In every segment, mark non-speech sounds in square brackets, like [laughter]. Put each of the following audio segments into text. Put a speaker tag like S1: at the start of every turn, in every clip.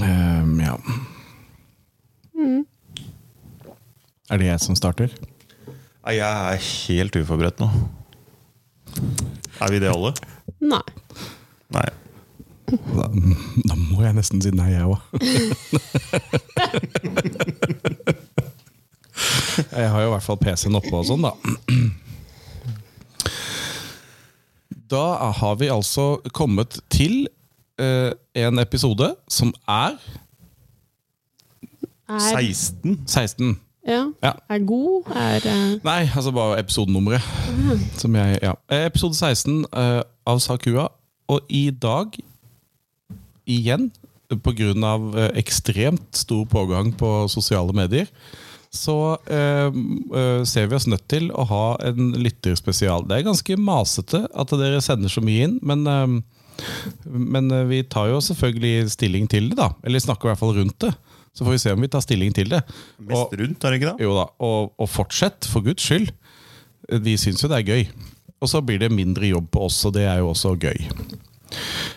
S1: Ehm, ja. Er det jeg som starter?
S2: Nei, Jeg er helt uforberedt nå. Er vi det alle?
S3: Nei.
S2: Nei.
S1: Da, da må jeg nesten si nei, jeg òg. jeg har jo i hvert fall PC-en oppe og sånn, da. Da har vi altså kommet til eh, en episode som er
S3: Er,
S2: 16?
S1: 16.
S3: ja,
S1: Ja.
S3: er god, er eh,
S1: Nei, altså bare episodenummeret. Som jeg, ja. Eh, Episode 16 eh, av Sakua. Og i dag, igjen, pga. Uh, ekstremt stor pågang på sosiale medier, så eh, eh, ser vi oss nødt til å ha en lytterspesial. Det er ganske masete at dere sender så mye inn, men eh, men eh, vi tar jo selvfølgelig stilling til det, da. Eller snakker i hvert fall rundt det. Så får vi se om vi tar stilling til det. Og-
S2: Mest rundt, er det ikke det?
S1: jo da, og, og fortsett, for Guds skyld. Vi syns jo det er gøy. Og så blir det mindre jobb på oss, og det er jo også gøy.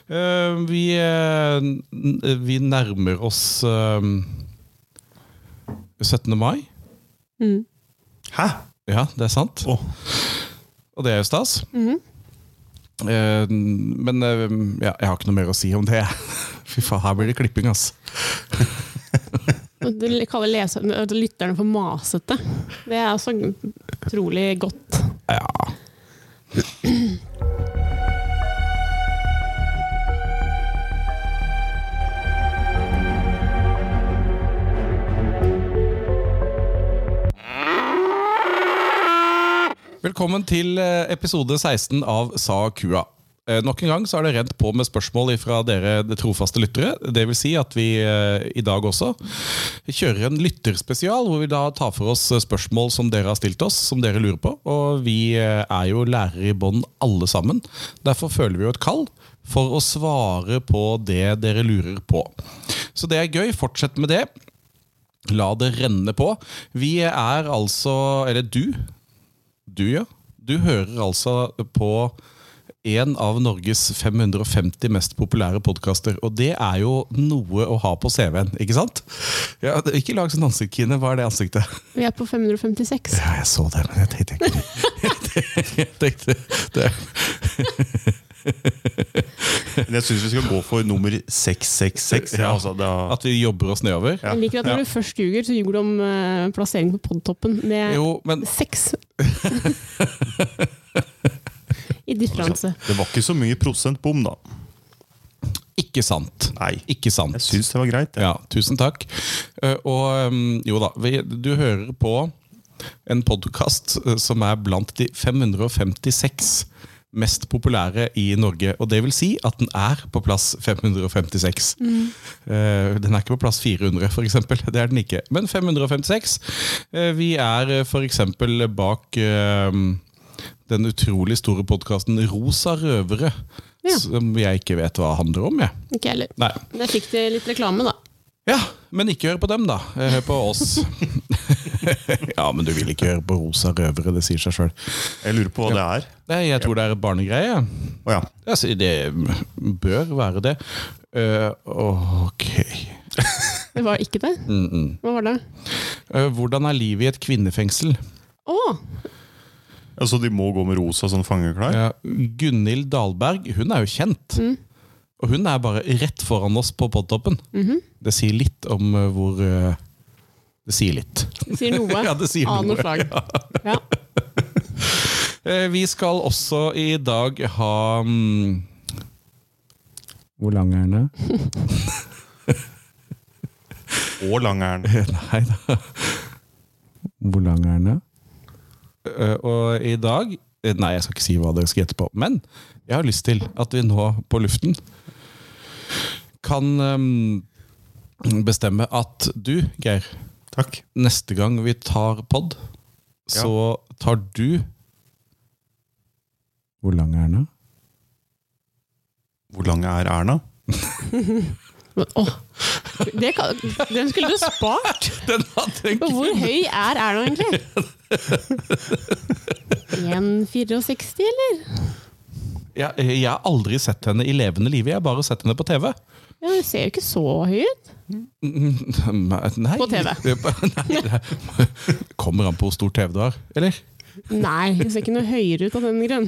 S1: Eh, Vi, eh, n- vi nærmer oss eh, 17. mai.
S2: Hæ?
S1: Ja, det er sant.
S2: Å,
S1: Og det er jo stas. Eh, Men eh, ja, jeg har ikke noe mer å si om det. [laughs] Fy faen, her blir det klipping, ass.
S3: Du kaller leser, lytterne for masete. Det er også utrolig godt.
S1: Ja. Velkommen til eh, episode 16 av Sa kua. Eh, Nok en gang så er det rent på med spørsmål fra dere de trofaste lyttere. Det vil si at vi eh, i dag også kjører en lytterspesial, hvor vi da tar for oss eh, spørsmål som dere har stilt oss, som dere lurer på. Og vi eh, er jo lærere i bånn alle sammen. Derfor føler vi jo et kall for å svare på det dere lurer på. Så det er gøy. Fortsett med det. La det renne på. Vi er altså Eller du. Du, ja. Du hører altså på en av Norges 550 mest populære podkaster. Og det er jo noe å ha på CV-en, ikke sant? Ja, det- ikke lag sånn ansikt, Kine. Hva er det ansiktet?
S3: Vi er på 556.
S1: Ja, jeg så det, men jeg tenkte ikke [laughs] Jeg tenkte det.
S2: Men jeg syns vi skal gå for nummer 666. Ja,
S1: Ja.
S2: altså, da,
S1: At vi jobber oss nedover.
S2: Ja.
S3: Jeg liker at når du først ljuger, så ljuger du om eh, plassering på podtoppen. Det er
S1: Jo, men [laughs]
S3: seks. I differanse.
S2: det var ikke så mye prosentbom, da.
S1: ikke sant.
S2: Nei.
S1: Ikke sant.
S2: Jeg syns det var greit. jeg.
S1: Ja, tusen takk. Eh, Og ehm, jo da, vi, du hører på en podkast som er blant de 556 mest populære i Norge. Og det vil si at den er på plass 556. Eh, den er ikke på plass 400, for eksempel. Det er den ikke. Men 556. Eh, vi er eh, for eksempel bak ehm, den utrolig store podkasten Rosa røvere.
S3: Ja.
S1: Som jeg ikke vet hva handler om, jeg.
S3: Ikke jeg heller.
S1: Nei.
S3: Men jeg fikk det litt reklame, da.
S1: Ja, men ikke hør på dem, da. Eh, Hør på oss. [laughs] ja, men du vil ikke høre på rosa røvere, det sier seg sjøl.
S2: Jeg lurer på hva det er.
S1: Jeg tror det er barnegreie.
S2: Å ja.
S1: Altså, det bør være det. Eh, ok
S3: Det var ikke det?
S1: Mm.
S3: Hva var det?
S1: Eh, Hvordan er livet i et kvinnefengsel?
S3: Å!
S2: Altså, de må gå med rosa sånn fangeklær?
S1: Ja, Gunhild Dahlberg, hun er jo kjent. Og hun er bare rett foran oss på podtoppen. Det sier litt om eh, hvor eh, Det sier litt.
S3: Det sier noe.
S1: [laughs] Ja, det sier
S3: Av
S1: noe,
S3: noe slag. Ja.
S1: Eh, Vi skal også i dag ha mm, Hvor lang er den?
S2: Og langeren.
S1: [laughs] Nei da. Hvor lang er den? Eh, Og i dag eh, Nei, jeg skal ikke si hva dere skal gjette på. Men jeg har lyst til at vi nå på luften kan eh, bestemme at du, Geir,
S2: Takk.
S1: neste gang vi tar pod,
S2: Ja.
S1: så tar du Hvor lang er den?
S2: Hvor lang er Erna?
S3: Men, åh. Det kan, den skulle du spart!
S1: [laughs] Den hadde jeg
S3: Men hvor høy er Erna egentlig? 1,64 eller?
S1: Jeg, eh, jeg har aldri sett henne i levende live, jeg har bare sett henne på TV.
S3: Ja, Hun ser jo ikke så høy ut.
S1: [laughs] Nei.
S3: På TV.
S1: [laughs] Nei, det kommer an på hvor stor TV du har, eller?
S3: Nei, hun ser ikke noe høyere ut av den grunn.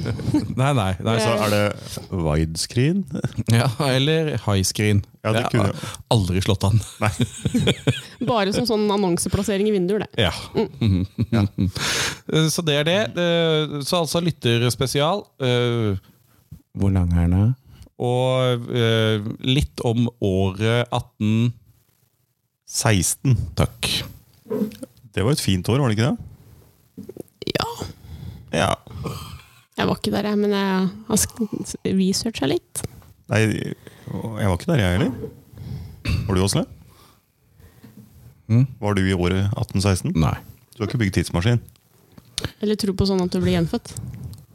S1: Nei, nei. nei
S2: Så
S1: så,
S2: er det widescreen. [laughs]
S1: ja, eller high screen.
S2: Ja, det
S1: Jeg
S2: kunne
S1: har Aldri slått an.
S3: Bare som sånn annonseplassering i vinduer, det.
S1: Ja. [laughs] Så det er det. Eh, Så altså lytterspesial. eh, Hvor lang er den? Og eh, litt om året 18
S2: 16.
S1: Takk.
S2: Det var et fint år, var det ikke det?
S3: Ja.
S2: Ja.
S3: Jeg var ikke der, jeg, men jeg har sk- researcha litt.
S2: Nei, jeg var ikke der, jeg heller. Var du, Åsle?
S1: Mm.
S2: Var du i året 1816?
S1: Nei.
S2: Du har ikke bygd tidsmaskin?
S3: Eller tro på sånn at du blir gjenfødt.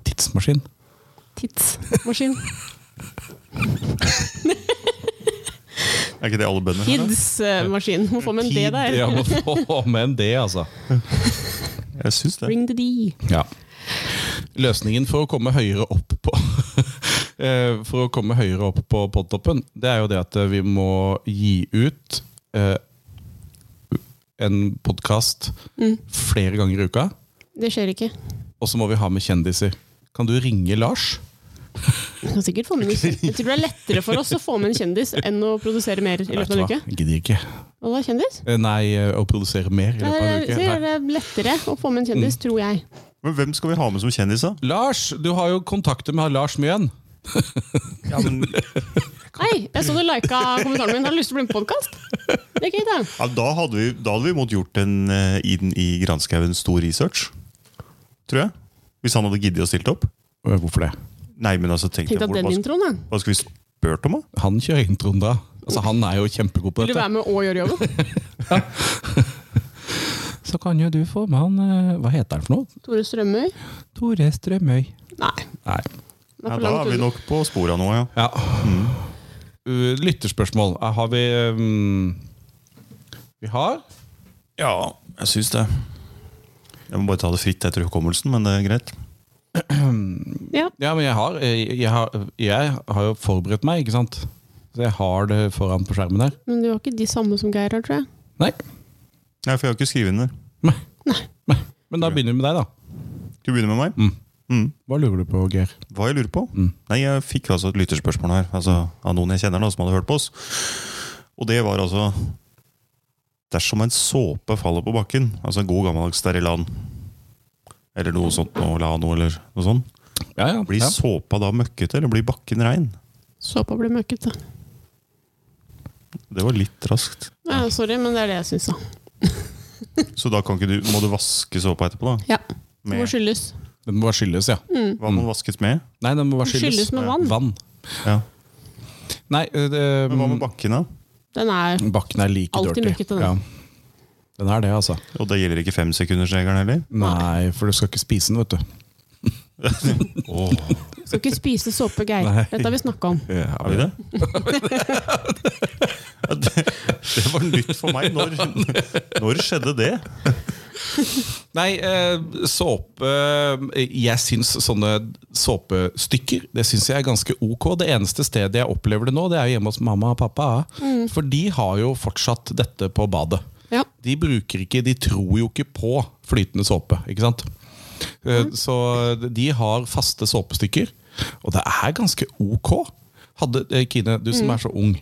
S1: Tidsmaskin.
S3: [laughs] Tidsmaskin.
S2: Er ikke det alle bønder her? da?
S3: Tidsmaskin. Må få med en D der.
S1: Ja, må [laughs] få med en D, altså.
S2: Jeg syns det.
S3: Ring the D.
S1: Ja. Løsningen for å komme høyere opp på [laughs] eh, For å komme høyere opp på podtoppen, det er jo det at eh, vi må gi ut eh, en podkast flere ganger i uka.
S3: Mm, Det skjer ikke.
S1: Og så må vi ha med kjendiser. Kan du ringe Lars?
S3: Du kan sikkert [laughs] få med en kjendis. Jeg tror det er lettere for oss å få med en kjendis enn å produsere mer i løpet av en uke.
S1: Jeg gidder ikke.
S3: Hva da, kjendis?
S1: Eh, Nei, eh, å produsere mer i
S3: Nei,
S1: løpet av en
S3: Eh, så
S1: uke.
S3: er
S1: Nei.
S3: det lettere å få med en kjendis, tror jeg.
S2: Men hvem skal vi ha med som kjendis, da?
S1: Lars, du har jo kontakter med Lars Mjøen.
S2: Ja, men,
S3: Hei, jeg så du lika kommentaren min. Har du lyst til å bli med på podkast? Det er gøy, da.
S2: [laughs] ja, da, hadde vi, da hadde vi måttet gjort en eh, inn i Granskauen stor research. Tror jeg. Hvis han hadde giddet å stille opp.
S1: Eh, Hvorfor det?
S2: Nei, men altså, tenk deg
S3: Tenkte
S2: hvor-
S3: at den
S2: hva, sk-
S3: introen, da.
S2: hva skal vi spurt om, da?
S1: Han kjører introen da. Altså, han er jo kjempegod på
S3: Vil du
S1: dette.
S3: være med og gjøre jobben?
S1: Så kan jo du få med han eh, Hva heter han for noe?
S3: Tore Strømøy?
S1: Tore Strømøy.
S3: Nei.
S1: Nei.
S3: Det er
S2: Ja,
S3: for
S2: da
S3: langt
S2: er vi
S3: unna.
S2: nok på sporet av noe, ja.
S1: Ja. Mm. Uh, Lytterspørsmål. Eh, Har vi um, Vi har
S2: Ja, jeg syns det. Jeg må bare ta det fritt etter hukommelsen, men det er greit.
S3: Ja.
S1: Ja, men jeg har, eh, jeg har, jeg har jo forberedt meg, ikke sant? Så jeg har det foran på skjermen her.
S3: Men du var ikke de samme som Geir har, tror jeg.
S1: Nei.
S2: Nei, for jeg har ikke skrevet inn det.
S1: Nei. Nei. Men da begynner vi med deg, da.
S2: Skal vi begynne med meg?
S1: Mm.
S2: Mm.
S1: Hva lurer du på, Geir?
S2: Hva jeg lurer på? Nei, jeg fikk altså et lytterspørsmål her, altså av noen jeg kjenner da, som hadde hørt på oss. Og det var altså Dersom en såpe faller på bakken, altså en god gammeldags Sterilan, eller noe sånt, noe Lano eller noe sånt,
S1: Ja, ja.
S2: blir
S1: ja.
S2: såpa da møkkete, eller blir bakken rein?
S3: Såpa ble møkkete.
S2: Det var litt raskt.
S3: Ja, sorry, men det er det jeg syns, da.
S2: Så da kan ikke du, må du vaske såpa etterpå, da?
S3: Ja. Det må
S2: Med,
S3: skyldes.
S1: Den må bare skylles, ja.
S2: hva må den vaskes med?
S1: Nei, den må bare
S3: Den
S1: skylles.
S3: skylles med vann.
S1: Vann.
S2: Ja.
S1: Nei, eh, det, um,
S2: Men hva med bakken, da?
S3: Den er
S1: bakken er like
S3: Alltid
S1: dirty.
S3: møkkete, den.
S1: Ja. Den er det, altså.
S2: Og det gjelder ikke femsekundersregelen heller?
S1: Nei, for du skal ikke spise den, vet du.
S2: Oh,
S3: Skal ikke spise såpe, Geir.
S1: Nei.
S3: Dette har vi snakka om.
S2: har vi det? [laughs] Ja, det? Det var nytt for meg. Når, når skjedde det?
S1: Nei, eh, såpe eh, Jeg syns sånne såpestykker Det syns jeg er ganske ok. Det eneste stedet jeg opplever det nå, det er jo hjemme hos mamma og pappa. For de har jo fortsatt dette på badet.
S3: Ja.
S1: De bruker ikke, de tror jo ikke på flytende såpe, ikke sant? Eh, Så de har faste såpestykker, og det er ganske ok. Hadde, eh, Kine, du som er så ung,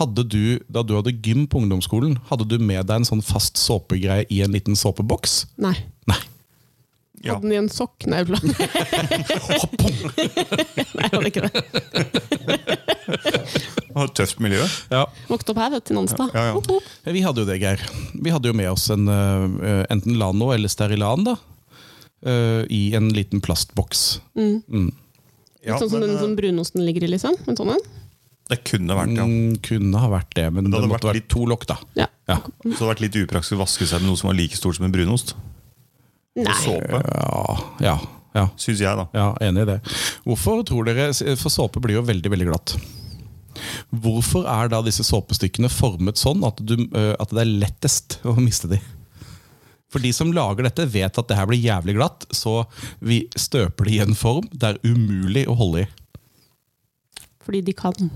S1: hadde du, da du hadde gym på ungdomsskolen, hadde du med deg en sånn fast såpegreie i en liten såpeboks?
S3: Nei.
S1: Nei.
S2: Ja.
S3: Hadde den i en sokk? Nei, jeg tuller. [laughs] Nei, jeg hadde ikke det.
S2: Det var et tøft miljø.
S1: Ja.
S3: Våknet opp her, vet du, til Nonstad.
S2: Ja, ja.
S3: Hopp, hopp.
S1: Vi hadde jo det, Geir. Vi hadde jo med oss en, eh, enten Lano eller Sterilan da, eh, i en liten plastboks.
S2: Mm. Ja,
S3: sånn som
S1: eh,
S2: men, eh,
S3: den som brunosten ligger i, liksom. En sånn en.
S2: det kunne vært ja.
S1: Mm, kunne ha vært det, men
S2: det
S1: det,
S2: hadde
S1: måtte
S2: vært
S1: vært
S2: litt-
S1: to lokk, da.
S3: Ja.
S1: Ja.
S2: Så det hadde vært litt upraktisk å vaske seg med noe som var like stort som en brunost.
S3: Nei.
S2: Såpe,
S1: Ja, ja, ja,
S2: syns jeg, da.
S1: ja, enig i det. Hvorfor tror dere, For såpe blir jo veldig veldig glatt. Hvorfor er da disse såpestykkene formet sånn at, du, eh, at det er lettest å miste de? For de som lager dette, vet at det her blir jævlig glatt, så vi støper det i en form det er umulig å holde i.
S3: Fordi de kan.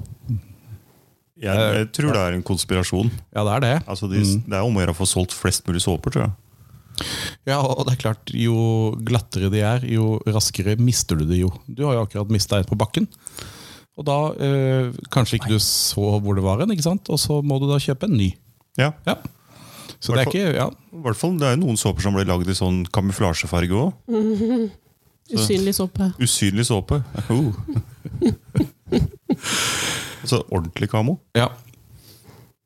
S2: Jeg, jeg tror det er en konspirasjon.
S1: Ja, det er det.
S2: Altså, de,
S3: Mm.
S2: Det er om å gjøre å få solgt flest mulig såper, tror jeg.
S1: Ja, og det er klart, Jo glattere de er, jo raskere mister du det jo. Du har jo akkurat mista en på bakken. Og da eh, kanskje ikke du så hvor det var en, ikke sant? og så må du da kjøpe en ny.
S2: Ja,
S1: Ja. Så det er ikke ja.
S2: i hvert fall, Det er jo noen såper som ble lagd i sånn kamuflasjefarge òg.
S3: Usynlig såpe.
S2: Usynlig såpe.
S3: [laughs]
S2: Oh. altså ordentlig kamo.
S1: ja.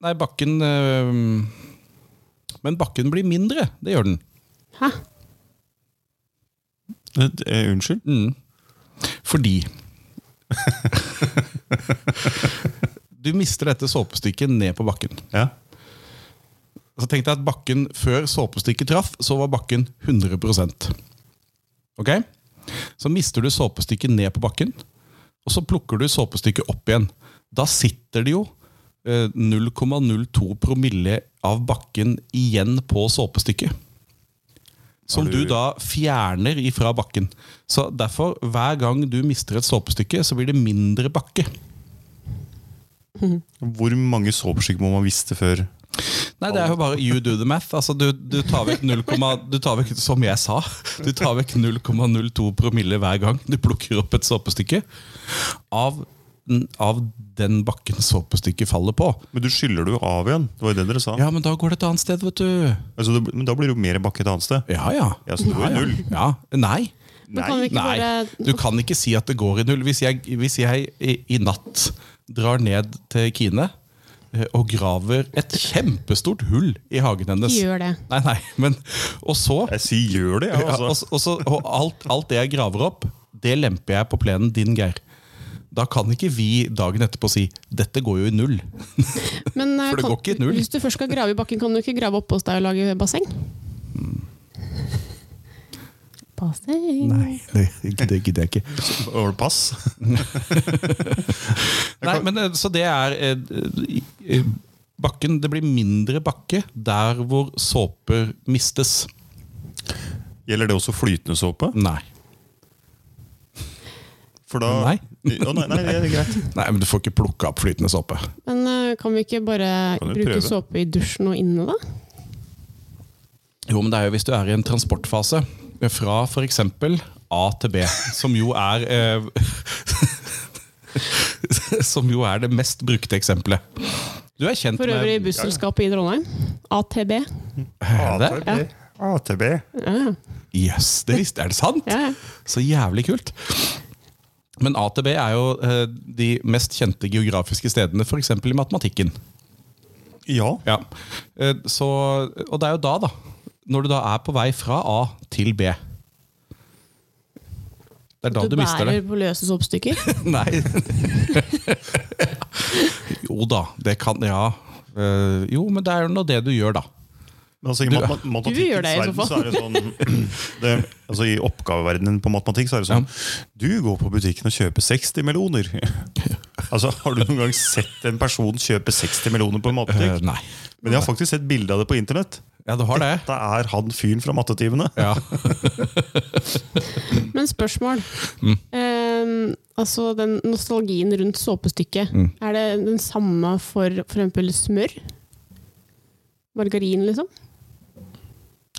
S1: Nei, bakken eh, Men bakken blir mindre, det gjør den.
S3: Hæ?
S2: Eh, eh, Unnskyld?
S1: Mm. Fordi [laughs] Du mister dette såpestykket ned på bakken.
S2: Ja.
S1: Så tenk deg at bakken før såpestykket traff, så var bakken 100 Ok? Så mister du såpestykket ned på bakken, og så plukker du såpestykket opp igjen. Da sitter det jo eh, 0,02 promille av bakken igjen på såpestykket. Som
S2: Har du-
S1: du da fjerner ifra bakken. Så derfor, hver gang du mister et såpestykke, så blir det mindre bakke.
S2: Hvor mange såpestykker må man visste før?
S1: Nei, det er jo bare you do the math. Altså, du, du, tar vekk 0, du tar vekk, som jeg sa, du tar vekk 0,02 promille hver gang du plukker opp et såpestykke. Av, av den bakken såpestykket faller på.
S2: Men du skyller det jo av igjen. Det var jo det dere sa.
S1: Ja, men da går det et annet sted, vet du.
S2: Altså, det, men da blir det jo mer bakke et annet sted.
S1: Ja, ja.
S2: Ja, så det går i null.
S1: Ja, Nei.
S3: Men kan vi ikke
S1: Nei,
S3: bare
S1: du kan ikke si at det går i null. Hvis jeg, hvis jeg i, i natt drar ned til Kine eh, og graver et kjempestort hull i hagen hennes
S3: Gjør det.
S1: Nei, nei, men Og så
S2: Jeg sier gjør det, jeg,
S1: Ja, og,
S2: altså.
S1: så- og, så, og alt, alt det jeg graver opp, det lemper jeg på plenen din, Geir. Da kan ikke vi dagen etterpå si 'dette går jo i null'.
S3: men, eh,
S1: For det
S3: kan,
S1: går ikke i null.
S3: Hvis du først skal grave i bakken, kan du ikke grave oppå hos deg og lage basseng?
S1: Mm.
S3: Basseng
S1: det, gidder jeg ikke.
S2: Var det Pass.
S1: Nei, men eh, Så det er eh, eh, eh, Bakken, Det blir mindre bakke der hvor såper mistes.
S2: Gjelder det også flytende såpe?
S1: Nei.
S2: For da
S1: Nei.
S2: Ja, nei, nei, det er greit.
S1: Nei, men Du får ikke plukka opp flytende såpe.
S3: Men eh, kan vi ikke bare
S2: Kan vi
S3: bruke
S2: prøve?
S3: såpe i dusjen og inne, da?
S1: Jo, men det er jo hvis du er i en transportfase fra f.eks. A til B, som jo er eh, [laughs] Som jo er det mest brukte eksempelet. Du er kjent
S3: For øvrig
S1: med
S3: busselskapet i Trondheim. ATB.
S1: det?
S2: ATB. ATB.
S3: Ja,
S1: Yes, det visste Er det sant?
S3: ja.
S1: Så jævlig kult. Men A til B er jo eh, de mest kjente geografiske stedene, f.eks. i matematikken.
S2: Ja.
S1: Ja. Eh, Så, og det er jo da, da. Når du da er på vei fra A til B. Det er da du,
S3: Du
S1: mister det.
S3: bærer på løse såpestykker.
S1: [laughs] Nei. jo da, det kan Ja. Eh, jo, men det er jo nå det du gjør, da.
S2: Men altså, i mat mat
S3: gjør det i så
S2: matematikkens verden så er det sånn [clears throat] det, altså, I oppgaveverdenen på matematikk så er det sånn Du går på butikken og kjøper 60 millioner. [laughs] altså, Har du noen gang sett en person kjøpe 60 millioner på en
S1: Eh,
S2: matbutikk?
S1: nei.
S2: Men jeg har faktisk sett bilde av det på internett.
S1: Ja, du har det?
S2: Det er han fyren fra Mattetimene.
S1: Ja.
S3: Men spørsmål. Eh, altså den nostalgien rundt såpestykket. Er det den samme for f.eks. smør? Margarin, liksom?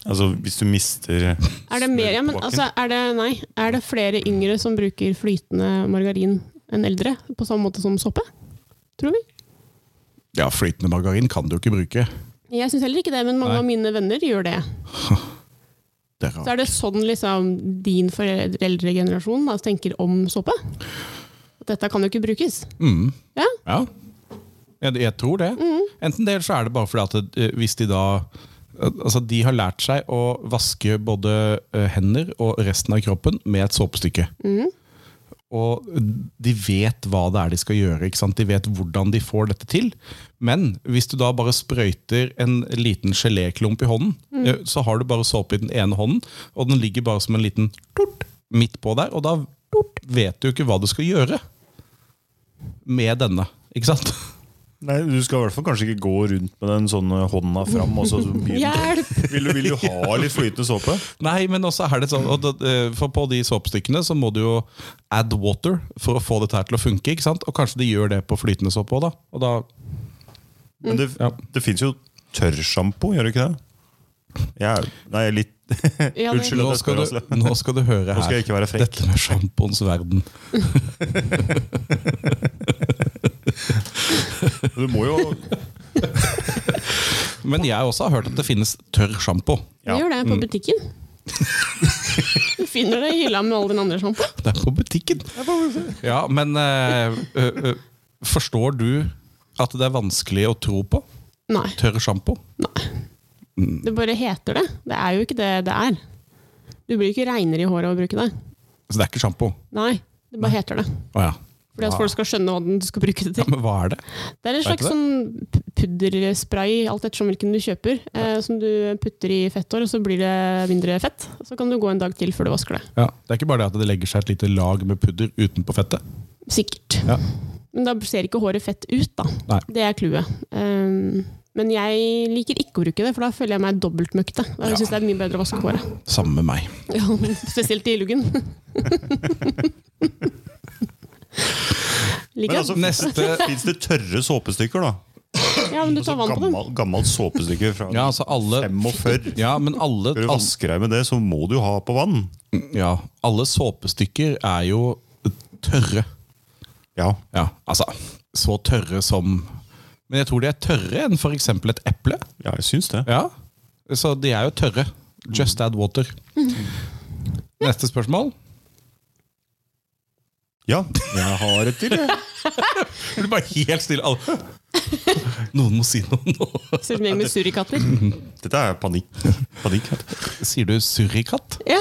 S2: Altså, hvis du mister
S3: Er det, mer, ja, men, altså, er, det, nei, er det flere yngre som bruker flytende margarin enn eldre? På samme måte som såpe? Tror vi.
S1: ja, flytende margarin kan du ikke bruke.
S3: Jeg syns heller ikke det, men mange
S1: Nei.
S3: av mine venner gjør det.
S1: Det er
S3: Så
S1: rart.
S3: er det sånn liksom, din foreldregenerasjon da, tenker om såpe? At Dette kan jo ikke brukes.
S1: Mm.
S3: Ja?
S1: Ja. Jeg, jeg tror det. Enten det, eller så er det bare fordi at eh, hvis de da Altså, de har lært seg å vaske både eh, hender og resten av kroppen med et såpestykke. Og de vet hva det er de skal gjøre. Ikke sant? De vet hvordan de får dette til. Men hvis du da bare sprøyter en liten geléklump i hånden, eh, så har du bare såpe i den ene hånden, og den ligger bare som en liten tort midt på der, og da vet du jo ikke hva du skal gjøre med denne. Ikke sant?
S2: Nei, Du skal i hvert fall kanskje ikke gå rundt med den sånne hånda fram. Og så begynne-
S3: Hjelp!
S2: vil, du, vil du ha litt flytende såpe?
S1: [laughs] Nei, men også er det sånn og det, eh, For på de såpestykkene så må du jo add water for å få dette her til å funke. ikke sant? Og kanskje de gjør det på flytende såpe òg, da. Og da
S2: Men det,
S1: Ja.
S2: det fins jo tørrsjampo, gjør det ikke det? Jeg er, nei, jeg er litt
S3: Ja, det-
S2: Unnskyld.
S1: nå,
S2: at jeg
S1: skal
S2: spør,
S1: du, nå skal du høre
S2: [laughs] Nå skal
S1: her.
S2: jeg ikke være frekk.
S1: Dette med sjampoens verden.
S2: Du må jo
S1: Men jeg også har hørt at det finnes tørr sjampo.
S2: Ja.
S3: Vi gjør det på
S1: Mm. [laughs]
S3: butikken. Du finner det i hylla med all den andre sjampo.
S1: Det er på butikken! Ja, men eh, ø, ø, forstår du at det er vanskelig å tro på
S3: Nei,
S1: tørr sjampo?
S3: det bare heter det. Det er jo ikke det det er. Du blir ikke reinere i håret av å bruke det.
S1: Så Altså, det er ikke sjampo?
S3: Nei, det bare heter det.
S1: Å ja.
S3: Fordi at
S1: Hva-
S3: folk skal skjønne hva den- du skal bruke det
S1: ja.
S3: til.
S1: Men hva er det?
S3: Det er en
S1: Vet du
S3: slags sånn p- pudderspray, alt ettersom hvilken du kjøper, eh, som du putter i fetthår, og så blir det mindre fett. Så kan du gå en dag til før du vasker det.
S1: Ja, det er ikke bare det at det legger seg et lite lag med pudder utenpå fettet.
S3: Sikkert.
S1: Ja.
S3: Men da ser ikke håret fett ut, da.
S1: Nei.
S3: Det er clouet. Um, men jeg liker ikke å bruke det, for da føler jeg meg dobbeltmøkte. Da
S1: Ja.
S3: synes jeg det er mye bedre å vaske håret.
S1: Samme med meg.
S3: Ja, spesielt i
S2: [laughs]
S3: luggen.
S2: Men
S3: Liker
S2: altså,
S3: det.
S1: Neste
S2: Fins det tørre såpestykker, da?
S3: Ja, men du tar
S2: Altså,
S3: vann på den.
S2: gammel, gammelt såpestykke fra
S1: Ja, altså alle
S2: 45.
S1: ja, men alle,
S2: Skal du
S1: alle,
S2: vaske deg med det, sånn? så må du jo ha på vann.
S1: ja, alle såpestykker er jo tørre.
S2: Ja,
S1: Ja, altså så tørre som Men jeg tror de er tørre enn f.eks. et eple.
S2: ja jeg syns det.
S1: Ja, Så de er jo tørre. Just add water. Neste spørsmål.
S2: Ja, jeg har et til, jeg.
S1: Blir bare helt stille. [laughs] Alle. Noen må si noe nå.
S3: Ser ut som en gjeng med surikatter.
S2: [laughs] Dette er
S1: [laughs]
S2: panikk. panikk vet du.
S1: Sier du surrikatt?
S3: Ja,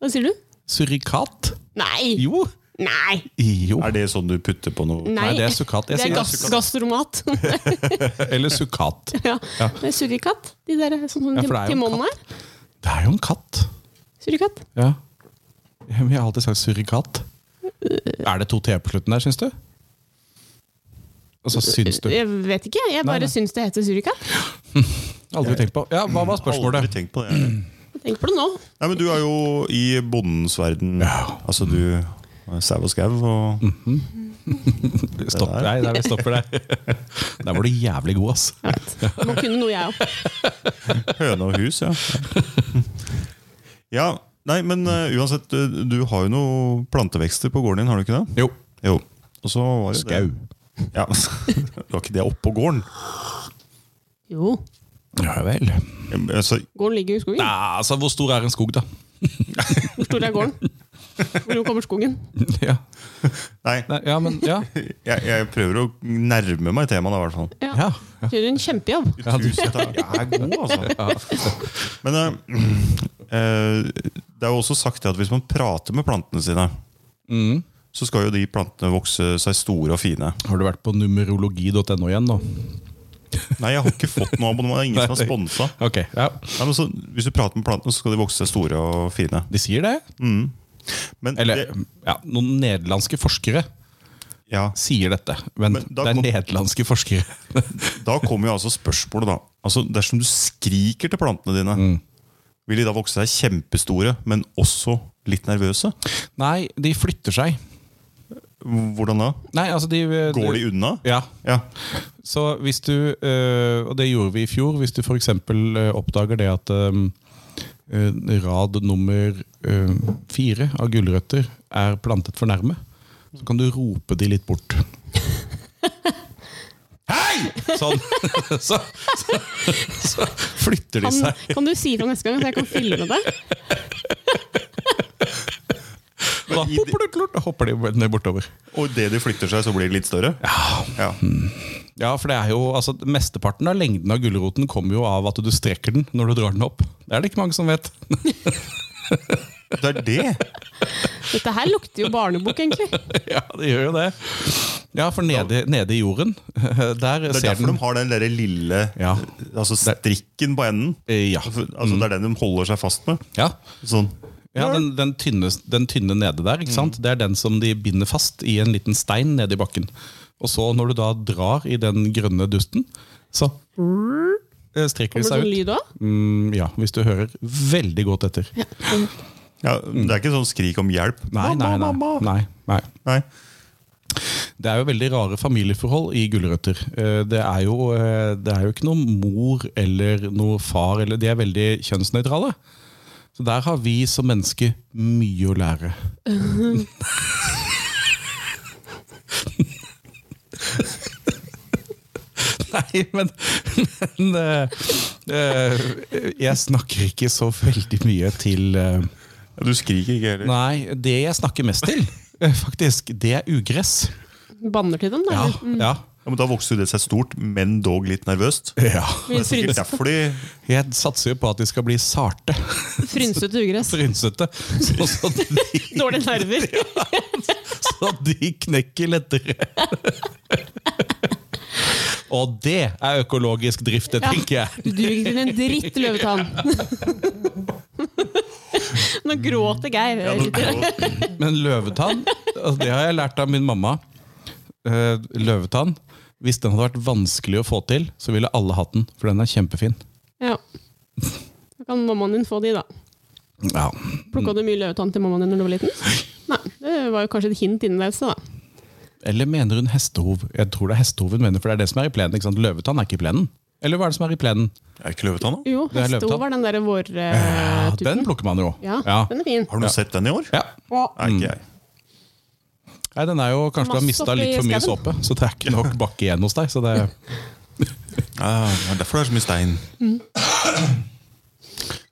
S3: hva sier du?
S1: Surrikat?
S3: Nei!
S1: Jo.
S3: Nei!
S1: Jo.
S2: Er det sånn du putter på noe?
S1: Nei, det er sukkat. Jeg
S3: Det
S1: sier
S3: er gass, gastromat. [laughs]
S1: Eller sukkat.
S3: ja.
S1: Ja.
S3: Det er surikatt. De der sånn som
S1: Ja, for det er jo
S3: Timon er.
S1: Det er jo en katt.
S3: Surikatt.
S1: Ja. Men jeg har alltid sagt surrikat. Er det to T på slutten der, syns du? Altså, syns du?
S3: Jeg vet ikke, jeg
S1: Nei, nei.
S3: bare syns det heter surikatt.
S1: Aldri tenkt på. Ja, Hva var
S2: Aldri
S1: spørsmålet?
S2: tenkt på det. jeg.
S3: Tenk på det nå.
S2: Nei, men Du er jo i bondens verden.
S1: Ja. Mm.
S2: Altså, du er Sau og skau og
S1: Stopp
S2: der.
S1: Nei, der vi stopper [laughs] der. Der var du jævlig god, ass.
S3: Jeg vet. Må kunne noe, jeg òg.
S2: høne og hus, ja. Ja, Nei, men eh, uansett, du, du har jo noen plantevekster på gården din, har du ikke det?
S1: Jo.
S2: Jo. Og så var jo det
S1: Skau.
S2: Ja, [laughs] Det var ikke det oppå gården.
S3: Jo.
S1: Ja vel.
S2: Eh, Så
S3: Gården ligger jo i skogen.
S1: Nei, altså, hvor stor er en skog, da?
S3: Hvor stor er gården? Hvor kommer skogen?
S1: [laughs] Ja,
S2: Nei,
S1: Nei, ja men ja.
S2: jeg, jeg prøver å nærme meg temaet, da, i hvert fall.
S1: ja. ja.
S3: Gjør en kjempejobb.
S1: Ja, du-
S2: Tusen takk. Jeg er god,
S1: [laughs]
S2: altså. Men eh, [clears throat] eh, det er jo også sagt det at hvis man prater med plantene sine,
S1: Mm.
S2: så skal jo de plantene vokse seg store og fine.
S1: Har du vært på numerologi.no igjen nå?
S2: Nei, jeg har ikke fått noe abonnement. Det er ingen som har sponsa.
S1: Ok, ja.
S2: Nei, men så, hvis du prater med plantene, så skal de vokse seg store og fine.
S1: De sier det.
S2: Men,
S1: Eller
S2: det,
S1: ja, noen nederlandske forskere
S2: ja,
S1: sier dette. Men,
S2: Men da
S1: det er
S2: kom-
S1: nederlandske forskere.
S2: da kommer jo altså spørsmålet, da. Altså, dersom du skriker til plantene dine, vil de da vokse seg kjempestore, men også litt nervøse?
S1: [laughs] Nei, de flytter seg.
S2: Hvordan da?
S1: Nei, altså de
S2: Går de unna?
S1: Ja.
S2: Ja.
S1: Så hvis du, øh, og det gjorde vi i fjor, hvis du f.eks. oppdager det at øhm, øh, rad nummer øh, fire av gulrøtter er plantet for nærme, så kan du rope de litt bort. Hei! Sånn. [laughs] Så, så, så flytter de
S3: Kan,
S1: seg.
S3: kan du si fra neste gang, så jeg kan filme det?
S1: Og da hopper de, klart, da hopper de ned bortover.
S2: Og idet de flytter seg, så blir de litt større? Ja.
S1: Ja, for det er jo, altså Mesteparten av lengden av gulroten kommer jo av at du strekker den når du drar den opp. Det er det ikke mange som vet. [laughs]
S2: Det er det?
S3: Dette her lukter jo barnebok, egentlig.
S1: ja, det gjør jo det. Ja, for nede, nede i jorden, [laughs] der
S2: Det er
S1: ser
S2: derfor
S1: den
S2: de har den derre lille
S1: Ja.
S2: altså strikken på enden.
S1: Eh, Ja.
S2: Altså, Det er den de holder seg fast med.
S1: ja.
S2: Sånn.
S1: ja den, den,
S2: Mm.
S1: tynne, den tynne nede der, ikke sant? det er den som de binder fast i en liten stein nede i bakken. Og så når du da drar i den grønne dusten, så eh, strekker det
S3: Kommer det
S1: seg
S3: sånn
S1: ut.
S3: lyd òg?
S1: Mm, ja, hvis du hører veldig godt etter.
S2: Ja, det er ikke sånn skrik om hjelp.
S1: Nei, nei, nei. nei, nei.
S2: Nei.
S1: Det er jo veldig rare familieforhold i Gulrøtter. Eh, Det er jo, eh, det er jo ikke noe mor eller noe far. Eller, de er veldig kjønnsnøytrale. Så der har vi som mennesker mye å lære. [laughs] Nei, men, men eh, eh, Jeg snakker ikke så veldig mye til eh,
S2: Ja, Du skriker ikke heller.
S1: Nei, det jeg snakker mest til, eh, faktisk, det er ugress.
S3: Banner til dem, da?
S1: Ja,
S3: eller?
S1: ja.
S2: Ja, men da vokser jo det seg stort, men dog litt nervøst.
S1: ja.
S2: Det
S3: Mye
S2: er sikkert
S3: fryns-
S2: derfor de
S1: Jeg satser jo på at de skal bli sarte, [laughs]
S3: Frynsete ugress.
S1: frynsete, sånn at de,
S3: Dårlige nerver.
S1: sånn at de knekker lettere. Og det er økologisk drift, det
S3: Ja.
S1: tenker jeg.
S3: Du duger ikke til en dritt, løvetann. Nå gråter Geir.
S2: ja,
S3: [laughs]
S2: nå-
S1: Men løvetann, altså det har jeg lært av min mamma. Eh, Løvetann, hvis den hadde vært vanskelig å få til, så ville alle hatt den, for den er kjempefin.
S3: Ja. Da kan mammaen din få de, da.
S1: Ja.
S3: Plukka du mye løvetann til mammaen din når du var liten? Nei, Det var jo kanskje et hint inni deg også, da.
S1: Eller mener hun hestehov? Jeg tror det er hestehov hun mener, for det er det som er i plenen. ikke sant? Løvetann er ikke i plenen. Eller hva er det som er i plenen?
S2: Er ikke løvetann, da?
S3: Jo,
S1: Det er løvetann.
S3: hestehov var den derre
S1: Ja,
S3: vårtuppen.
S1: den plukker man jo.
S3: Ja,
S1: ja.
S3: den er fin.
S2: Har du sett den i år?
S1: ja.
S2: Nei, ikke jeg.
S1: Nei, den er jo kanskje du har
S3: Masse
S1: mista litt
S3: oppi
S1: for mye
S3: skauen.
S1: såpe, så det er ikke
S2: [laughs]
S1: nok bakke igjen hos deg. Så det,
S2: Ah, det er derfor det er så mye stein.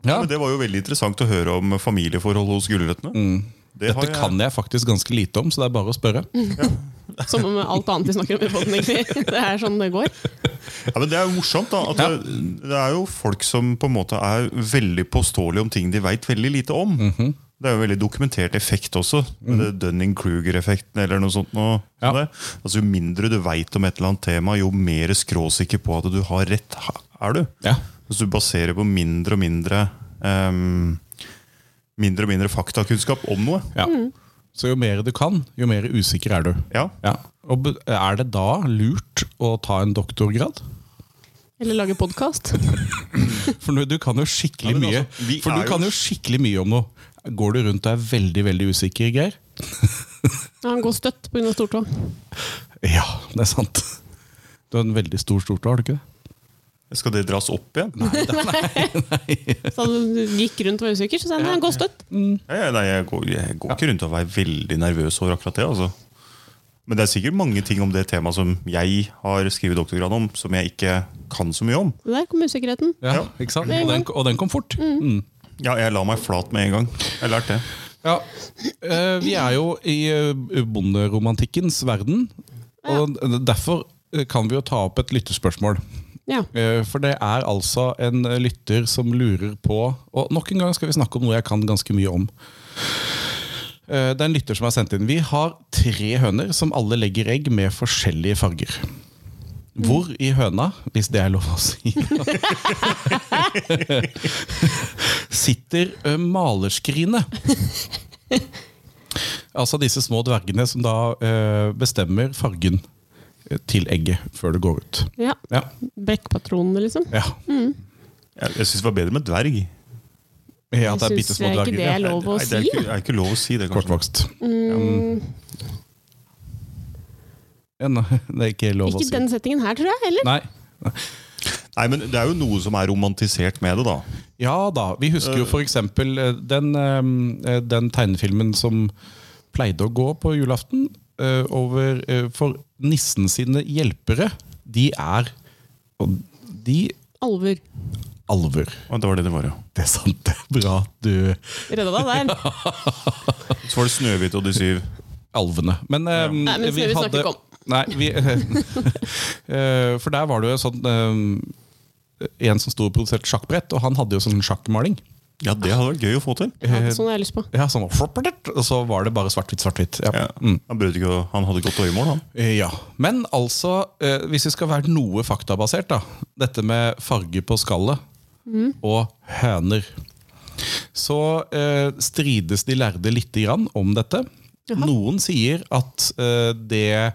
S1: ja,
S2: Men det var jo veldig interessant å høre om familieforhold hos gulrøttene. Det har
S1: dette kan jeg faktisk ganske lite om, så det er bare å spørre.
S3: Som om alt annet vi snakker om i podden, egentlig. Det er sånn det går.
S2: Ja, men det er jo morsomt, da. At det, det er jo folk som på en måte er veldig påståelige om ting de veit veldig lite om.
S1: Mhm.
S2: Det er jo en veldig dokumentert effekt også. Mm. Dunning-Kruger-effekten eller noe sånt. Noe,
S1: Ja.
S2: sånt der. altså, jo mindre du veit om et eller annet tema, jo mer skråsikker på at du har rett ha- er du.
S1: Ja.
S2: Hvis du baserer på mindre og mindre ehm, Mindre og mindre faktakunnskap om noe.
S1: Ja. Så jo mer du kan, jo mer usikker er du.
S2: Ja,
S1: Ja. Og be- er det da lurt å ta en doktorgrad?
S3: Eller lage podkast.
S1: For du- du kan jo skikkelig
S2: Ja, men
S1: mye
S2: altså, vi
S1: For du
S2: er jo-
S1: kan jo skikkelig mye om noe. Går du rundt og er veldig veldig usikker, Geir?
S3: Han går støtt pga. stortå.
S1: Ja, det er sant. Du har en veldig stor stortå, har du ikke det?
S2: Skal det dras opp igjen?
S3: Så han gikk rundt og var usikker, så sa han nei, han går støtt.
S2: Ja, nei, jeg går, jeg går ikke rundt og er veldig nervøs over akkurat det. Altså. Men det er sikkert mange ting om det temaet som jeg har skrevet doktorgrad om, som jeg ikke kan så mye om.
S3: Så Der kom usikkerheten.
S1: Ja,
S2: Ja.
S1: ikke sant? Og den, og den kom fort. Mm.
S2: Ja, jeg la meg flat med en gang. Jeg lærte det.
S1: Ja. Eh, vi er jo i eh, bonderomantikkens verden, og derfor eh, kan vi jo ta opp et lytterspørsmål.
S3: Ja.
S1: Eh, For det er altså en eh, lytter som lurer på Og nok en gang skal vi snakke om noe jeg kan ganske mye om. Eh, Det er en lytter som har sendt inn. Vi har tre høner som alle legger egg med forskjellige farger. Hvor i høna, hvis det er lov å si, [laughs] sitter eh, malerskrinet? Altså disse små dvergene som da eh, bestemmer fargen eh, til egget før det går ut.
S3: ja.
S1: Ja,
S3: Brekkpatronene, liksom.
S1: ja.
S2: Jeg, jeg syns det var bedre med dverg.
S1: ja det er
S3: Jeg
S1: bitte
S3: synes
S1: små
S3: ikke det
S1: dverger.
S3: er lov å
S2: Nei, det
S3: si.
S2: er ikke, det er ikke lov å si det, kanskje.
S1: Kortvokst.
S3: Mm,
S1: Ja, nei, [laughs] det er ikke lov
S3: ikke
S1: å si.
S3: den settingen her, tror jeg. Eller?
S1: Nei.
S2: Nei, men det er jo noe som er romantisert med det, da.
S1: Ja da. Vi husker jo f.eks. Den, eh, den tegnefilmen som pleide å gå på julaften. eh, Over, eh, for nissen sine hjelpere, de er og de
S3: Alver.
S1: alver.
S2: Og det var det det var, ja.
S1: Det er sant. det er Bra at du
S3: Redda deg der.
S2: Så var det Snøhvit og de syv.
S1: Alvene. Men, eh,
S3: Nei, men
S1: vi
S3: Snøhvit
S1: hadde-
S3: snakker ikke om.
S1: Nei, vi, [laughs] eh, for der var det jo sånn eh, en som sto og produserte sjakkbrett, og han hadde jo sånn sjakkmaling.
S2: Ja, det hadde vært gøy å få til.
S3: Ja, sånn har jeg lyst på.
S1: Ja, sånn, og så var det bare svart-hvitt, svart-hvitt. Ja.
S2: Ja.
S3: Mm.
S2: Han, brød ikke, å- han hadde godt øyemål, han.
S1: Eh, Ja. Men altså, eh, hvis vi skal være noe faktabasert, da. Dette med farge på skallet
S3: Mm.
S1: og høner. Så eh, strides de lærde lite grann om dette. Noen sier at eh, det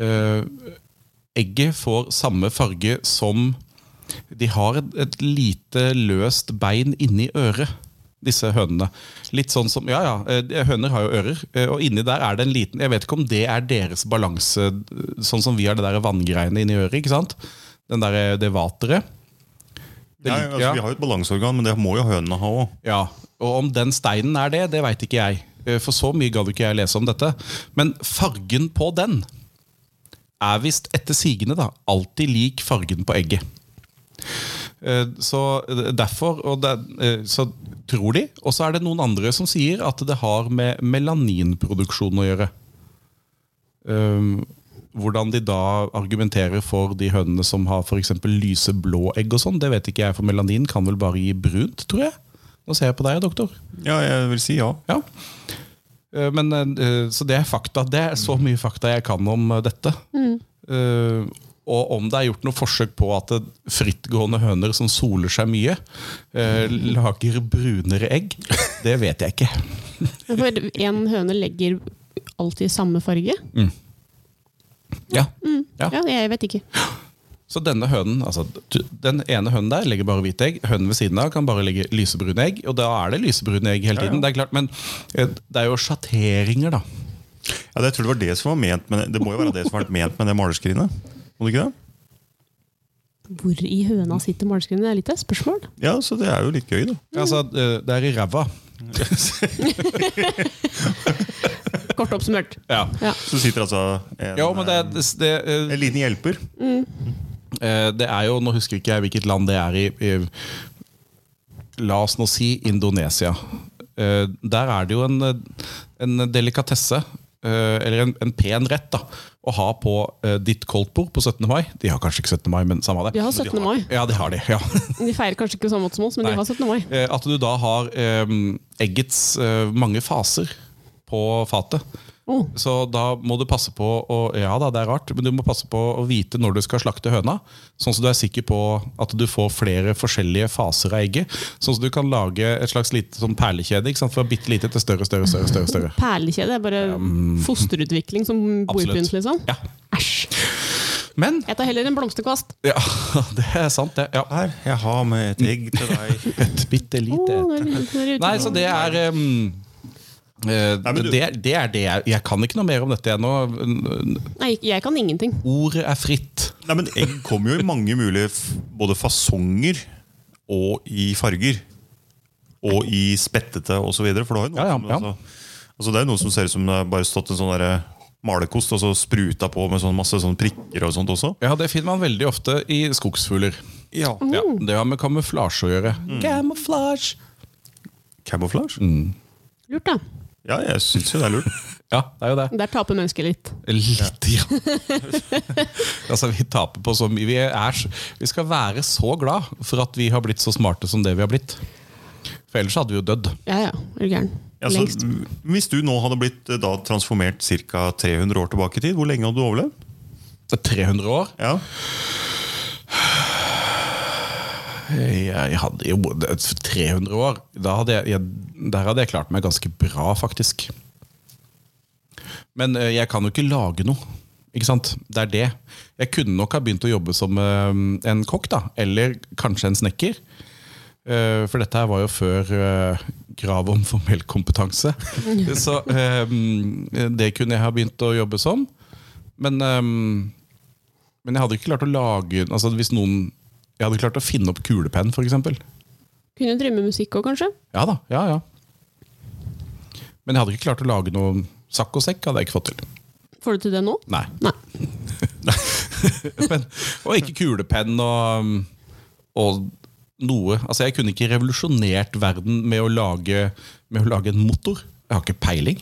S1: eh, egget får samme farge som De har et, et lite løst bein inni øret, disse hønene. Litt sånn som, ja ja, eh, Høner har jo ører, eh, og inni der er det en liten Jeg vet ikke om det er deres balanse, sånn som vi har det der vanngreiene inni øret. ikke sant? Den der, eh, det vateret. Det
S2: Nei,
S1: lik-
S2: altså,
S1: ja.
S2: Vi har jo et balanseorgan, men det må jo hønene ha òg.
S1: Ja, og om den steinen er det, det veit ikke jeg. Eh, For så mye gadd ikke jeg lese om dette. Men fargen på den er visst etter sigende da, alltid lik fargen på egget. Eh, Så derfor og det, eh, så tror de, og så er det noen andre som sier at det har med melaninproduksjon å gjøre. Eh, Hvordan de da argumenterer for de hønene som har for eksempel lyse blå egg, og sånn, det vet ikke jeg, for melanin kan vel bare gi brunt, tror jeg. Nå ser jeg på deg, doktor.
S2: Ja, jeg vil si ja.
S1: Ja. Eh, Men, eh, så det er fakta. Det er så mye fakta jeg kan om eh, dette. Eh, Og om det er gjort noe forsøk på at det- frittgående høner som soler seg mye, eh, lager brunere egg, det vet jeg ikke.
S3: For én høne legger alltid samme farge.
S1: Ja. Ja.
S3: Ja, jeg vet ikke.
S1: Så denne hønen, altså t- den ene hønen der legger bare hvite egg. Hønen ved siden av kan bare legge lysebrune egg, og da er det lysebrune egg hele tiden. Det er klart, Men eh, det er jo sjatteringer, da.
S2: ja jeg tror det var det som var ment med det. Det må jo være det som har vært ment med det malerskrinet. Må det ikke det?
S3: Hvor i høna
S1: Mm.
S3: sitter maleskrinet? Det er litt av et spørsmål.
S2: Ja, så det er jo litt gøy, da.
S1: Altså, eh, det er i ræva.
S3: Kort oppsummert.
S1: [laughs] Ja.
S3: Ja.
S2: Så sitter altså en,
S1: Jo, men det, er- det, det, eh,
S2: en liten hjelper.
S1: eh, det er jo Nå husker ikke jeg hvilket land det er i. i la oss nå si Indonesia. Eh, Der er det jo en, eh, en delikatesse, eh, eller en, en pen rett, da, å ha på eh, ditt koldtbord på 17. mai. De har kanskje ikke 17. mai, men samme av det.
S3: De har 17. mai.
S1: Ja, det har de. ja
S3: De feirer kanskje ikke på samme måte som oss, men
S1: Nei.
S3: [laughs] de har 17. mai.
S1: [laughs] Eh, At du da har eh, eggets eh, mange faser på fatet.
S3: Oh.
S1: Så da må du passe på å, Ja da, det er rart, men du må passe på å vite når du skal slakte høna. Sånn at du er sikker på at du får flere forskjellige faser av egget. Sånn at du kan lage et slags lite sånn perlekjede ikke sant? fra bitte lite til større, større, større. større, større.
S3: Perlekjede er bare fosterutvikling som
S1: mm. absolutt.
S3: bordpynt, liksom.
S1: Ja.
S3: Æsj.
S1: Men
S3: Jeg tar heller en blomsterkvast.
S1: Ja, [laughs] det er sant, det. Ja.
S2: Her, jeg har med et egg til deg.
S1: Et bitte
S3: Å,
S1: lite.
S3: det er litt- det er ute.
S1: Nei, så det er ehm, eh,
S2: men du-
S1: det, det er det jeg Jeg kan ikke noe mer om dette ennå.
S3: Nei, jeg kan ingenting.
S1: Ordet er fritt.
S2: [laughs] Nei, men Egg kommer jo i mange mulige f- både fasonger og i farger. Og i spettete og så videre For det har jo noe
S1: Ja, ja,
S2: som,
S1: ja.
S2: Altså, altså det er jo noe som ser ut som det har bare stått en sånn der malerkost og så spruta på med sånn masse sånn prikker og sånt også.
S1: Ja, Det finner man veldig ofte i skogsfugler.
S2: Ja.
S1: Ja, det har med kamuflasje å gjøre. Camouflage!
S2: Camouflage?
S3: Lurt, da.
S2: Ja, jeg syns jo det er lurt.
S1: Mm. Ja, det er jo det. [laughs]
S3: Der taper mennesket litt.
S1: Litt. Ja. [laughs] altså, vi taper på så mye. Vi, er, så- vi skal være så glad for at vi har blitt så smarte som det vi har blitt. For ellers hadde vi jo dødd.
S3: Ja ja, er du gæren.
S2: Altså,
S3: Lengst.
S2: m- hvis du nå hadde blitt eh, da, transformert ca. 300 år tilbake i tid, hvor lenge hadde du overlevd?
S1: Det er 300 år.
S2: Ja,
S1: Jeg hadde jo det er 300 år. Da hadde jeg, jeg, der hadde jeg klart meg ganske bra, faktisk. Men eh, jeg kan jo ikke lage noe. Ikke sant? Det er det. Jeg kunne nok ha begynt å jobbe som eh, en kokk, da. Eller kanskje en snekker. Eh, For dette her var jo før eh, krav om formell kompetanse. Så eh, det kunne jeg ha begynt å jobbe som. Men eh, men jeg hadde ikke klart å lage altså hvis noen, Jeg hadde klart å finne opp kulepenn, f.eks.
S3: Kunne drive med musikk òg, kanskje?
S1: Ja da. Ja, ja. Men jeg hadde ikke klart å lage noe sakk og sekk. hadde jeg ikke fått til.
S3: Får du til det nå?
S1: Nei. [laughs]
S3: Nei.
S1: Men, og ikke kulepenn og, um, og noe. Altså Jeg kunne ikke revolusjonert verden med å lage, med å lage en motor. Jeg har ikke peiling.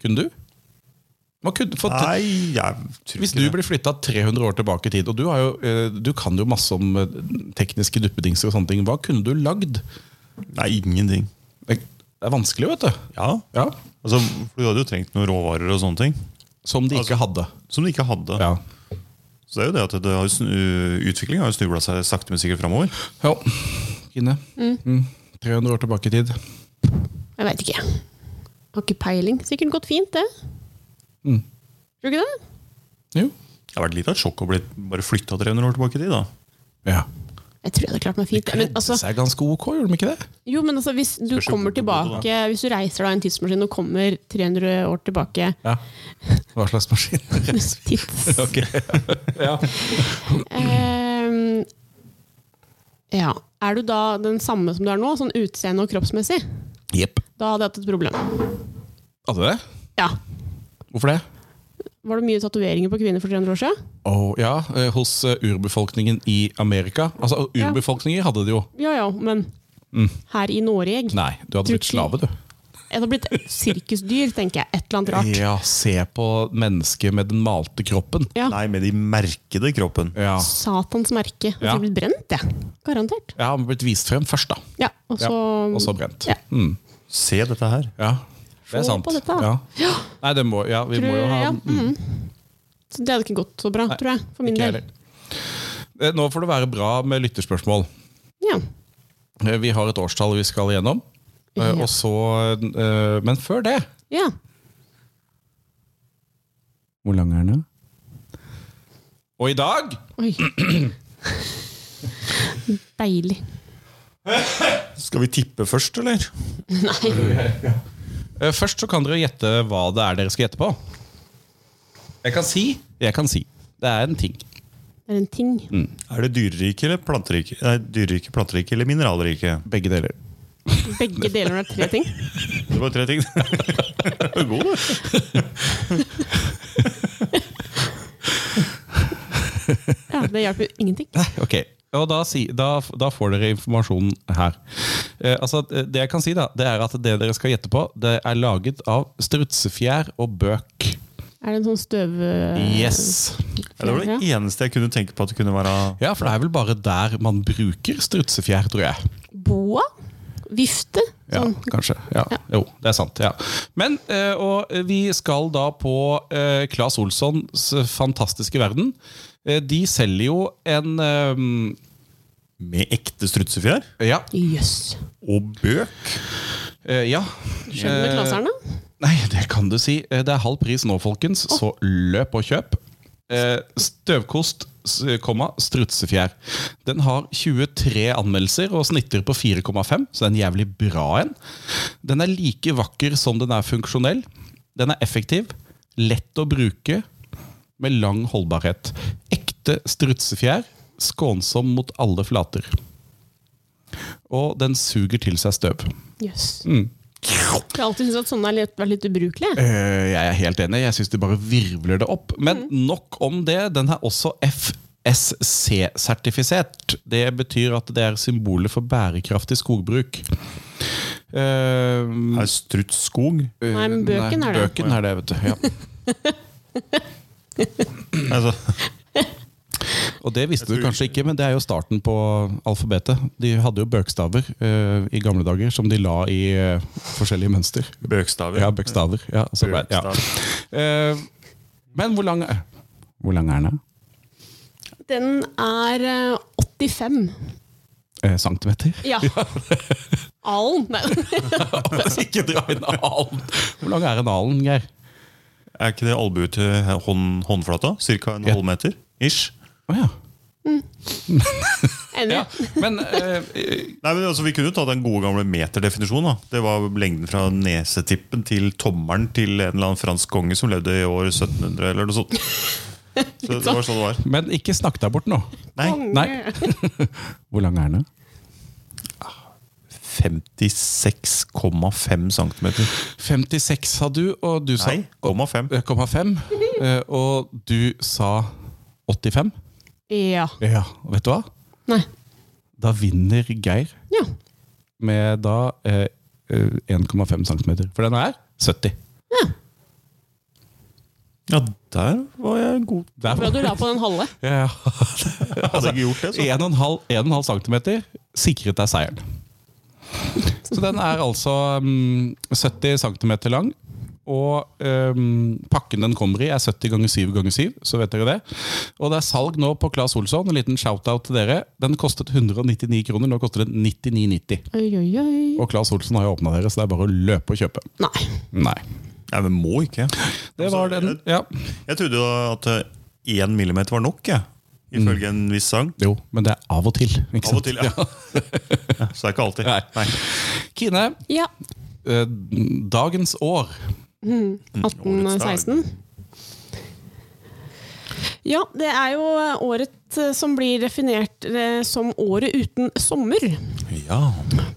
S1: Kunne du? Man kunne, for,
S2: Nei, jeg tror
S1: Hvis
S2: ikke
S1: du
S2: det.
S1: blir flytta 300 år tilbake i tid, og du, har jo, eh, du kan jo masse om eh, tekniske duppedingser og sånne ting, hva kunne du lagd?
S2: Nei, ingenting.
S1: Det er vanskelig, vet du.
S2: Ja,
S1: Ja.
S2: Altså, for Du hadde jo trengt noen råvarer og sånne ting
S1: Som de ikke hadde.
S2: som du ikke hadde.
S1: Altså, Ja.
S2: Så det er jo det at det har jo snu, eh, Utviklingen har jo snubla seg sakte, men sikkert framover.
S1: ja. Kine. Mm. 300 år tilbake i tid.
S3: Jeg veit ikke. Har ikke peiling. Sikkert gått fint, det.
S1: Mm.
S3: Tror du ikke det?
S1: Jo.
S2: Det har vært litt av et sjokk å bli bare flytta 300 år tilbake i tid. da.
S1: Ja.
S3: Jeg tror jeg hadde klart meg fint. Men, altså,
S1: det er ganske ok, gjorde de ikke det?
S3: jo, men altså, hvis du
S2: Spørs jo
S3: kommer
S2: hvor du bodde, da.
S3: tilbake, hvis du reiser da i en tidsmaskin og kommer 300 år tilbake
S1: Ja. Hva slags maskin?
S3: Tids.
S1: [laughs] Ok. [laughs] ja.
S3: Ehm, ja. Er du da den samme som du er nå, sånn utseende og kroppsmessig?
S1: Jepp.
S3: Da hadde jeg hatt et problem.
S1: Hadde det?
S3: Ja.
S1: Hvorfor det?
S3: Var det mye tatoveringer på kvinner for 300 år siden?
S1: Å, ja, eh, Hos eh, urbefolkningen i Amerika. Altså,
S3: Ja.
S1: Urbefolkninger hadde det jo.
S3: Ja ja, men her i Norge
S1: Nei, du hadde blitt slave, du.
S3: Jeg hadde blitt sirkusdyr, tenker jeg. Et eller annet rart.
S1: Ja, Se på mennesket med den malte kroppen.
S3: Ja.
S2: Nei, med de merkede kroppen.
S1: Ja,
S3: Satans merke. Jeg
S1: Ja.
S3: hadde blitt brent, jeg. Garantert.
S1: ja Han blitt vist frem først, da.
S3: Ja, og så,
S1: ja. Og så brent.
S3: Ja.
S1: Mm.
S2: Se dette her.
S1: ja. Det er
S3: Se
S1: sant.
S3: på dette, da.
S1: Ja. Nei, det må, ja, vi
S3: Tror-
S1: må jo ha
S3: ja, mm. så det hadde ikke gått så bra, tror jeg. For min
S1: Ikke
S3: del.
S1: heller. Eh, Nå får det være bra med lytterspørsmål.
S3: Ja.
S1: Eh, Vi har et årstall vi skal igjennom. Eh,
S3: Ja.
S1: Og så, eh, men før det
S3: ja.
S1: Hvor lang er den? Og i dag [clears throat]
S3: Oi. Deilig.
S2: Skal vi tippe først, eller?
S1: eh, Først så kan dere gjette hva det er dere skal gjette på. Jeg kan si. Jeg kan si. Det er en ting.
S3: Det er en ting.
S2: Er det dyrerike eller planterike? Nei, dyrerike, planterike eller mineralrike?
S1: Begge deler.
S3: Begge deler er tre ting.
S2: Det var tre ting. God, du.
S3: Ja, Det hjelper jo ingenting.
S1: Nei, ok. Og da, si, da, da får dere informasjonen her. Eh, altså, det jeg kan si, da, det er at det dere skal gjette på, det er laget av strutsefjær og bøk.
S3: Er det en sånn støv...
S1: Yes!
S2: Ja, det var det eneste jeg kunne tenke på at det kunne være
S1: Ja, for det er vel bare der man bruker strutsefjær, tror jeg.
S3: Boa? Vifte?
S1: Ja,
S3: Sånn.
S1: kanskje. Ja. Jo, det er sant. ja. Men, eh, og vi skal da på eh, Claes Olssons fantastiske verden. Eh, de selger jo en eh,
S2: med ekte strutsefjær
S1: Ja.
S3: Jøss.
S2: og bøk.
S1: Eh, ja.
S3: Skjønner
S1: Eh,
S3: du klaseren, da?
S1: Nei, det kan du si. Eh, Det er halv pris nå, folkens, så løp og kjøp. Eh, Støvkost, s- komma, strutsefjær. Den har 23 anmeldelser og snitter på 4,5, så det er en jævlig bra en. Den er like vakker som den er funksjonell. Den er effektiv, lett å bruke, med lang holdbarhet. Ekte strutsefjær, skånsom mot alle flater. Og den suger til seg støv.
S3: Jøss.
S1: mm.
S3: Jeg har alltid syntes at sånne har litt- vært litt ubrukelige.
S1: Eh, Jeg er helt enig. Jeg syns de bare virvler det opp. Men
S3: Mm.
S1: nok om det. Den er også FSC-sertifisert. Det betyr at det er symbolet for bærekraftig skogbruk. Eh,
S2: Er strutsskog?
S3: Nei, men bøken
S1: nei,
S3: er det.
S1: Bøken er det, vet du. Ja.
S2: Altså,
S1: Og det visste du kanskje ikke, men det er jo starten på alfabetet. De hadde jo bøkstaver eh, i gamle dager som de la i eh, forskjellige mønster.
S2: bøkstaver.
S1: Ja, bøkstaver. Ja, så ble, ja. [laughs] Eh, men hvor lang, hvor lang er den?
S3: Den er eh, 85.
S1: Eh, centimeter?
S3: Ja. Alen? Nei.
S1: [laughs] ikke dra inn alen. Hvor lang er en alen, Geir?
S2: Er ikke det albue til hånd, håndflata? Cirka en
S1: Ja.
S2: halvmeter? Ish.
S1: Å ja.
S3: Enig.
S1: Men eh,
S2: Nei, men altså, Vi kunne jo tatt den gode gamle meterdefinisjonen. da. Det var lengden fra nesetippen til tommelen til en eller annen fransk konge som levde i år 1700. eller noe sånt. Så det var sånn det var.
S1: men ikke snakk deg bort nå.
S2: Nei,
S1: Nei. [laughs] Hvor lang er den?
S2: 56,5 cm.
S1: 56 sa du, og du sa
S2: Nei, 0,5.
S1: 0,5. eh, Og du sa 85.
S3: Ja.
S1: Ja, vet du hva?
S3: Nei.
S1: Da vinner Geir
S3: Ja.
S1: med da eh, eh, 1,5 cm. For den er 70.
S2: Ja, der var jeg god.
S1: Der.
S3: Bra du la på den halve.
S1: Ja,
S2: Hadde jeg ikke gjort det, så
S1: 1,5 cm sikret deg seieren. Så den er altså mm, 70 cm lang. Og mm, pakken den kommer i, er 70 ganger 7 ganger 7. Så vet dere det. Og det er salg nå på Claes Olsson. En liten shout-out til dere. Den kostet 199 kroner, nå koster den 99,90.
S3: Oi, oi, oi.
S1: Og Claes Olsson har jo åpna dere, så det er bare å løpe og kjøpe.
S3: Nei.
S1: Nei.
S2: Nei, men må ikke. Altså,
S1: Det var den. Ja.
S2: Jeg trodde jo at eh, én millimeter var nok, jeg. Ifølge en viss sang.
S1: Jo, men det er av og til. Ikke
S2: Av og
S1: sant?
S2: til, ja. Så det er ikke alltid.
S1: Nei. Kine,
S3: Ja.
S1: eh, dagens år.
S2: Årets dag.
S3: 1816. Ja, det er jo året eh, som blir definert eh, som året uten sommer.
S2: Ja.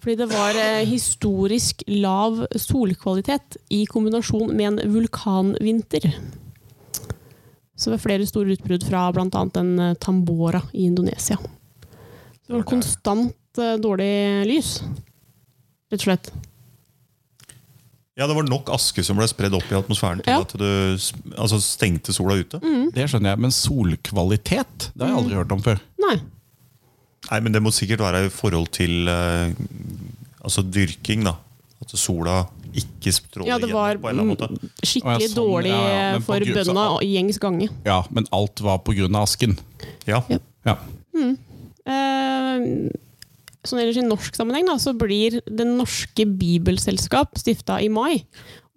S3: Fordi det var eh, historisk lav solkvalitet i kombinasjon med en vulkanvinter. Så det var flere store utbrudd fra bl.a. en eh, Tambora i Indonesia. Så det var konstant eh, dårlig lys, rett og slett.
S2: ja, det var nok aske som ble spredd opp i atmosfæren til
S3: Ja. Mm.
S2: at du s- altså, stengte sola ute.
S1: Det skjønner jeg, men solkvalitet Det har jeg aldri hørt om før.
S3: Nei.
S2: Nei, men det må sikkert være i forhold til eh, altså dyrking, da. At sola ikke stråler
S3: Ja, det var
S2: gjennom på en eller annen måte.
S3: mm, skikkelig
S1: Å, ja, sånn,
S3: dårlig
S1: ja, ja,
S3: eh,
S1: men på
S3: for
S1: Gud, så-
S3: bøndene og gjengs gange.
S1: Ja, Men alt var pga. asken.
S2: Ja.
S3: Ja.
S1: Ja.
S3: Eh, sånn ellers I norsk sammenheng da, så blir Det norske bibelselskap stifta i mai.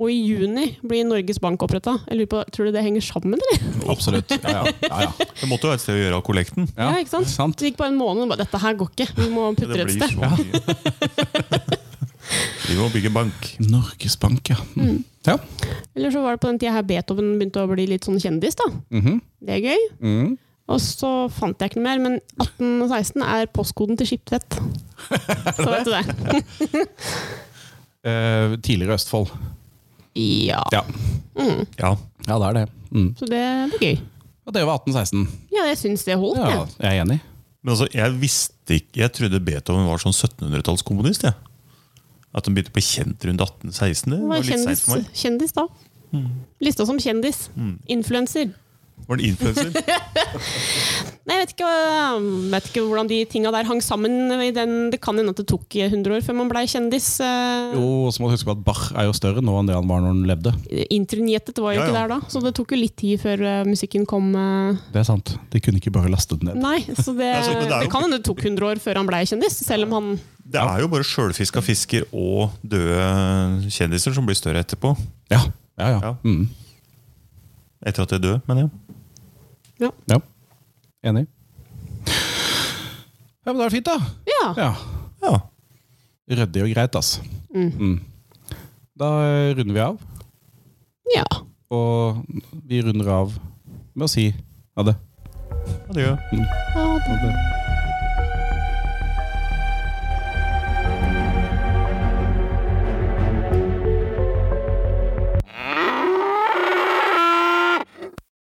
S3: Og i juni blir Norges Bank oppretta. Tror du det henger sammen, eller?
S1: Absolutt. Ja, ja. ja, ja.
S2: Det måtte jo være et sted å gjøre av kollekten.
S1: Ja,
S3: Ja, ikke sant?
S1: sant?
S3: Det gikk bare en måned, og bare dette her går ikke. Vi må putte
S2: Det
S3: det et
S2: blir
S3: sted.
S2: så
S3: [laughs]
S2: mye. Vi må bygge bank.
S1: Norges Bank, ja. Mm.
S3: Mm.
S1: ja.
S3: Eller så var det på den tida her Beethoven begynte å bli litt sånn kjendis, da.
S1: Mhm.
S3: Det er gøy.
S1: Mhm.
S3: Og så fant jeg ikke noe mer, men 1816 er postkoden til
S1: [laughs]
S3: Skiptvet. Så vet du det.
S1: Eh, tidligere Østfold.
S3: [laughs] Ja.
S1: Ja.
S3: Mm.
S2: Ja.
S1: ja, det er det. Mm.
S3: Så det var gøy.
S1: Og det var 1816.
S3: Ja, jeg syns det holdt,
S1: Ja,
S3: jeg.
S1: jeg er enig.
S2: Men altså, jeg visste ikke Jeg trodde Beethoven var sånn 1700-tallskomponist. jeg. At han begynte å bli kjent rundt 1816. Det
S3: Han
S2: var
S3: var
S2: litt
S3: kjendis,
S2: seint for meg.
S3: kjendis da. Lista som kjendis.
S2: Mm.
S3: Influenser.
S2: Var han
S3: [laughs]
S2: influenser?
S3: Nei, jeg vet ikke, øh, vet ikke hvordan de tinga der hang sammen. i den, Det kan hende at det tok 100 år før man blei kjendis. eh,
S1: Jo, og så må du huske på at Bach er jo større nå enn det han var når han levde.
S3: Internettet var jo
S2: Ja,
S3: ikke
S2: ja.
S3: der da, så det tok jo litt tid før øh, musikken kom. eh.
S1: Det er sant. De kunne ikke bare laste den ned.
S3: Nei, så det,
S2: [laughs] Ja, så det er jo-
S3: det kan hende det tok 100 år før han blei kjendis, selv om han
S2: Det er jo bare sjølfiska fisker og døde kjendiser som blir større etterpå.
S1: Ja, ja, ja.
S2: Ja.
S1: Mm.
S2: Etter at de er døde, mener jeg.
S1: ja. Enig. Ja, men da er det fint, da.
S3: Ja.
S1: Ja.
S2: Ja.
S1: Ryddig og greit, ass. Mm. Da eh, runder vi av,
S3: ja.
S1: og vi runder av med å si ha det.
S2: Adjø.
S3: ja det.
S1: Ha det.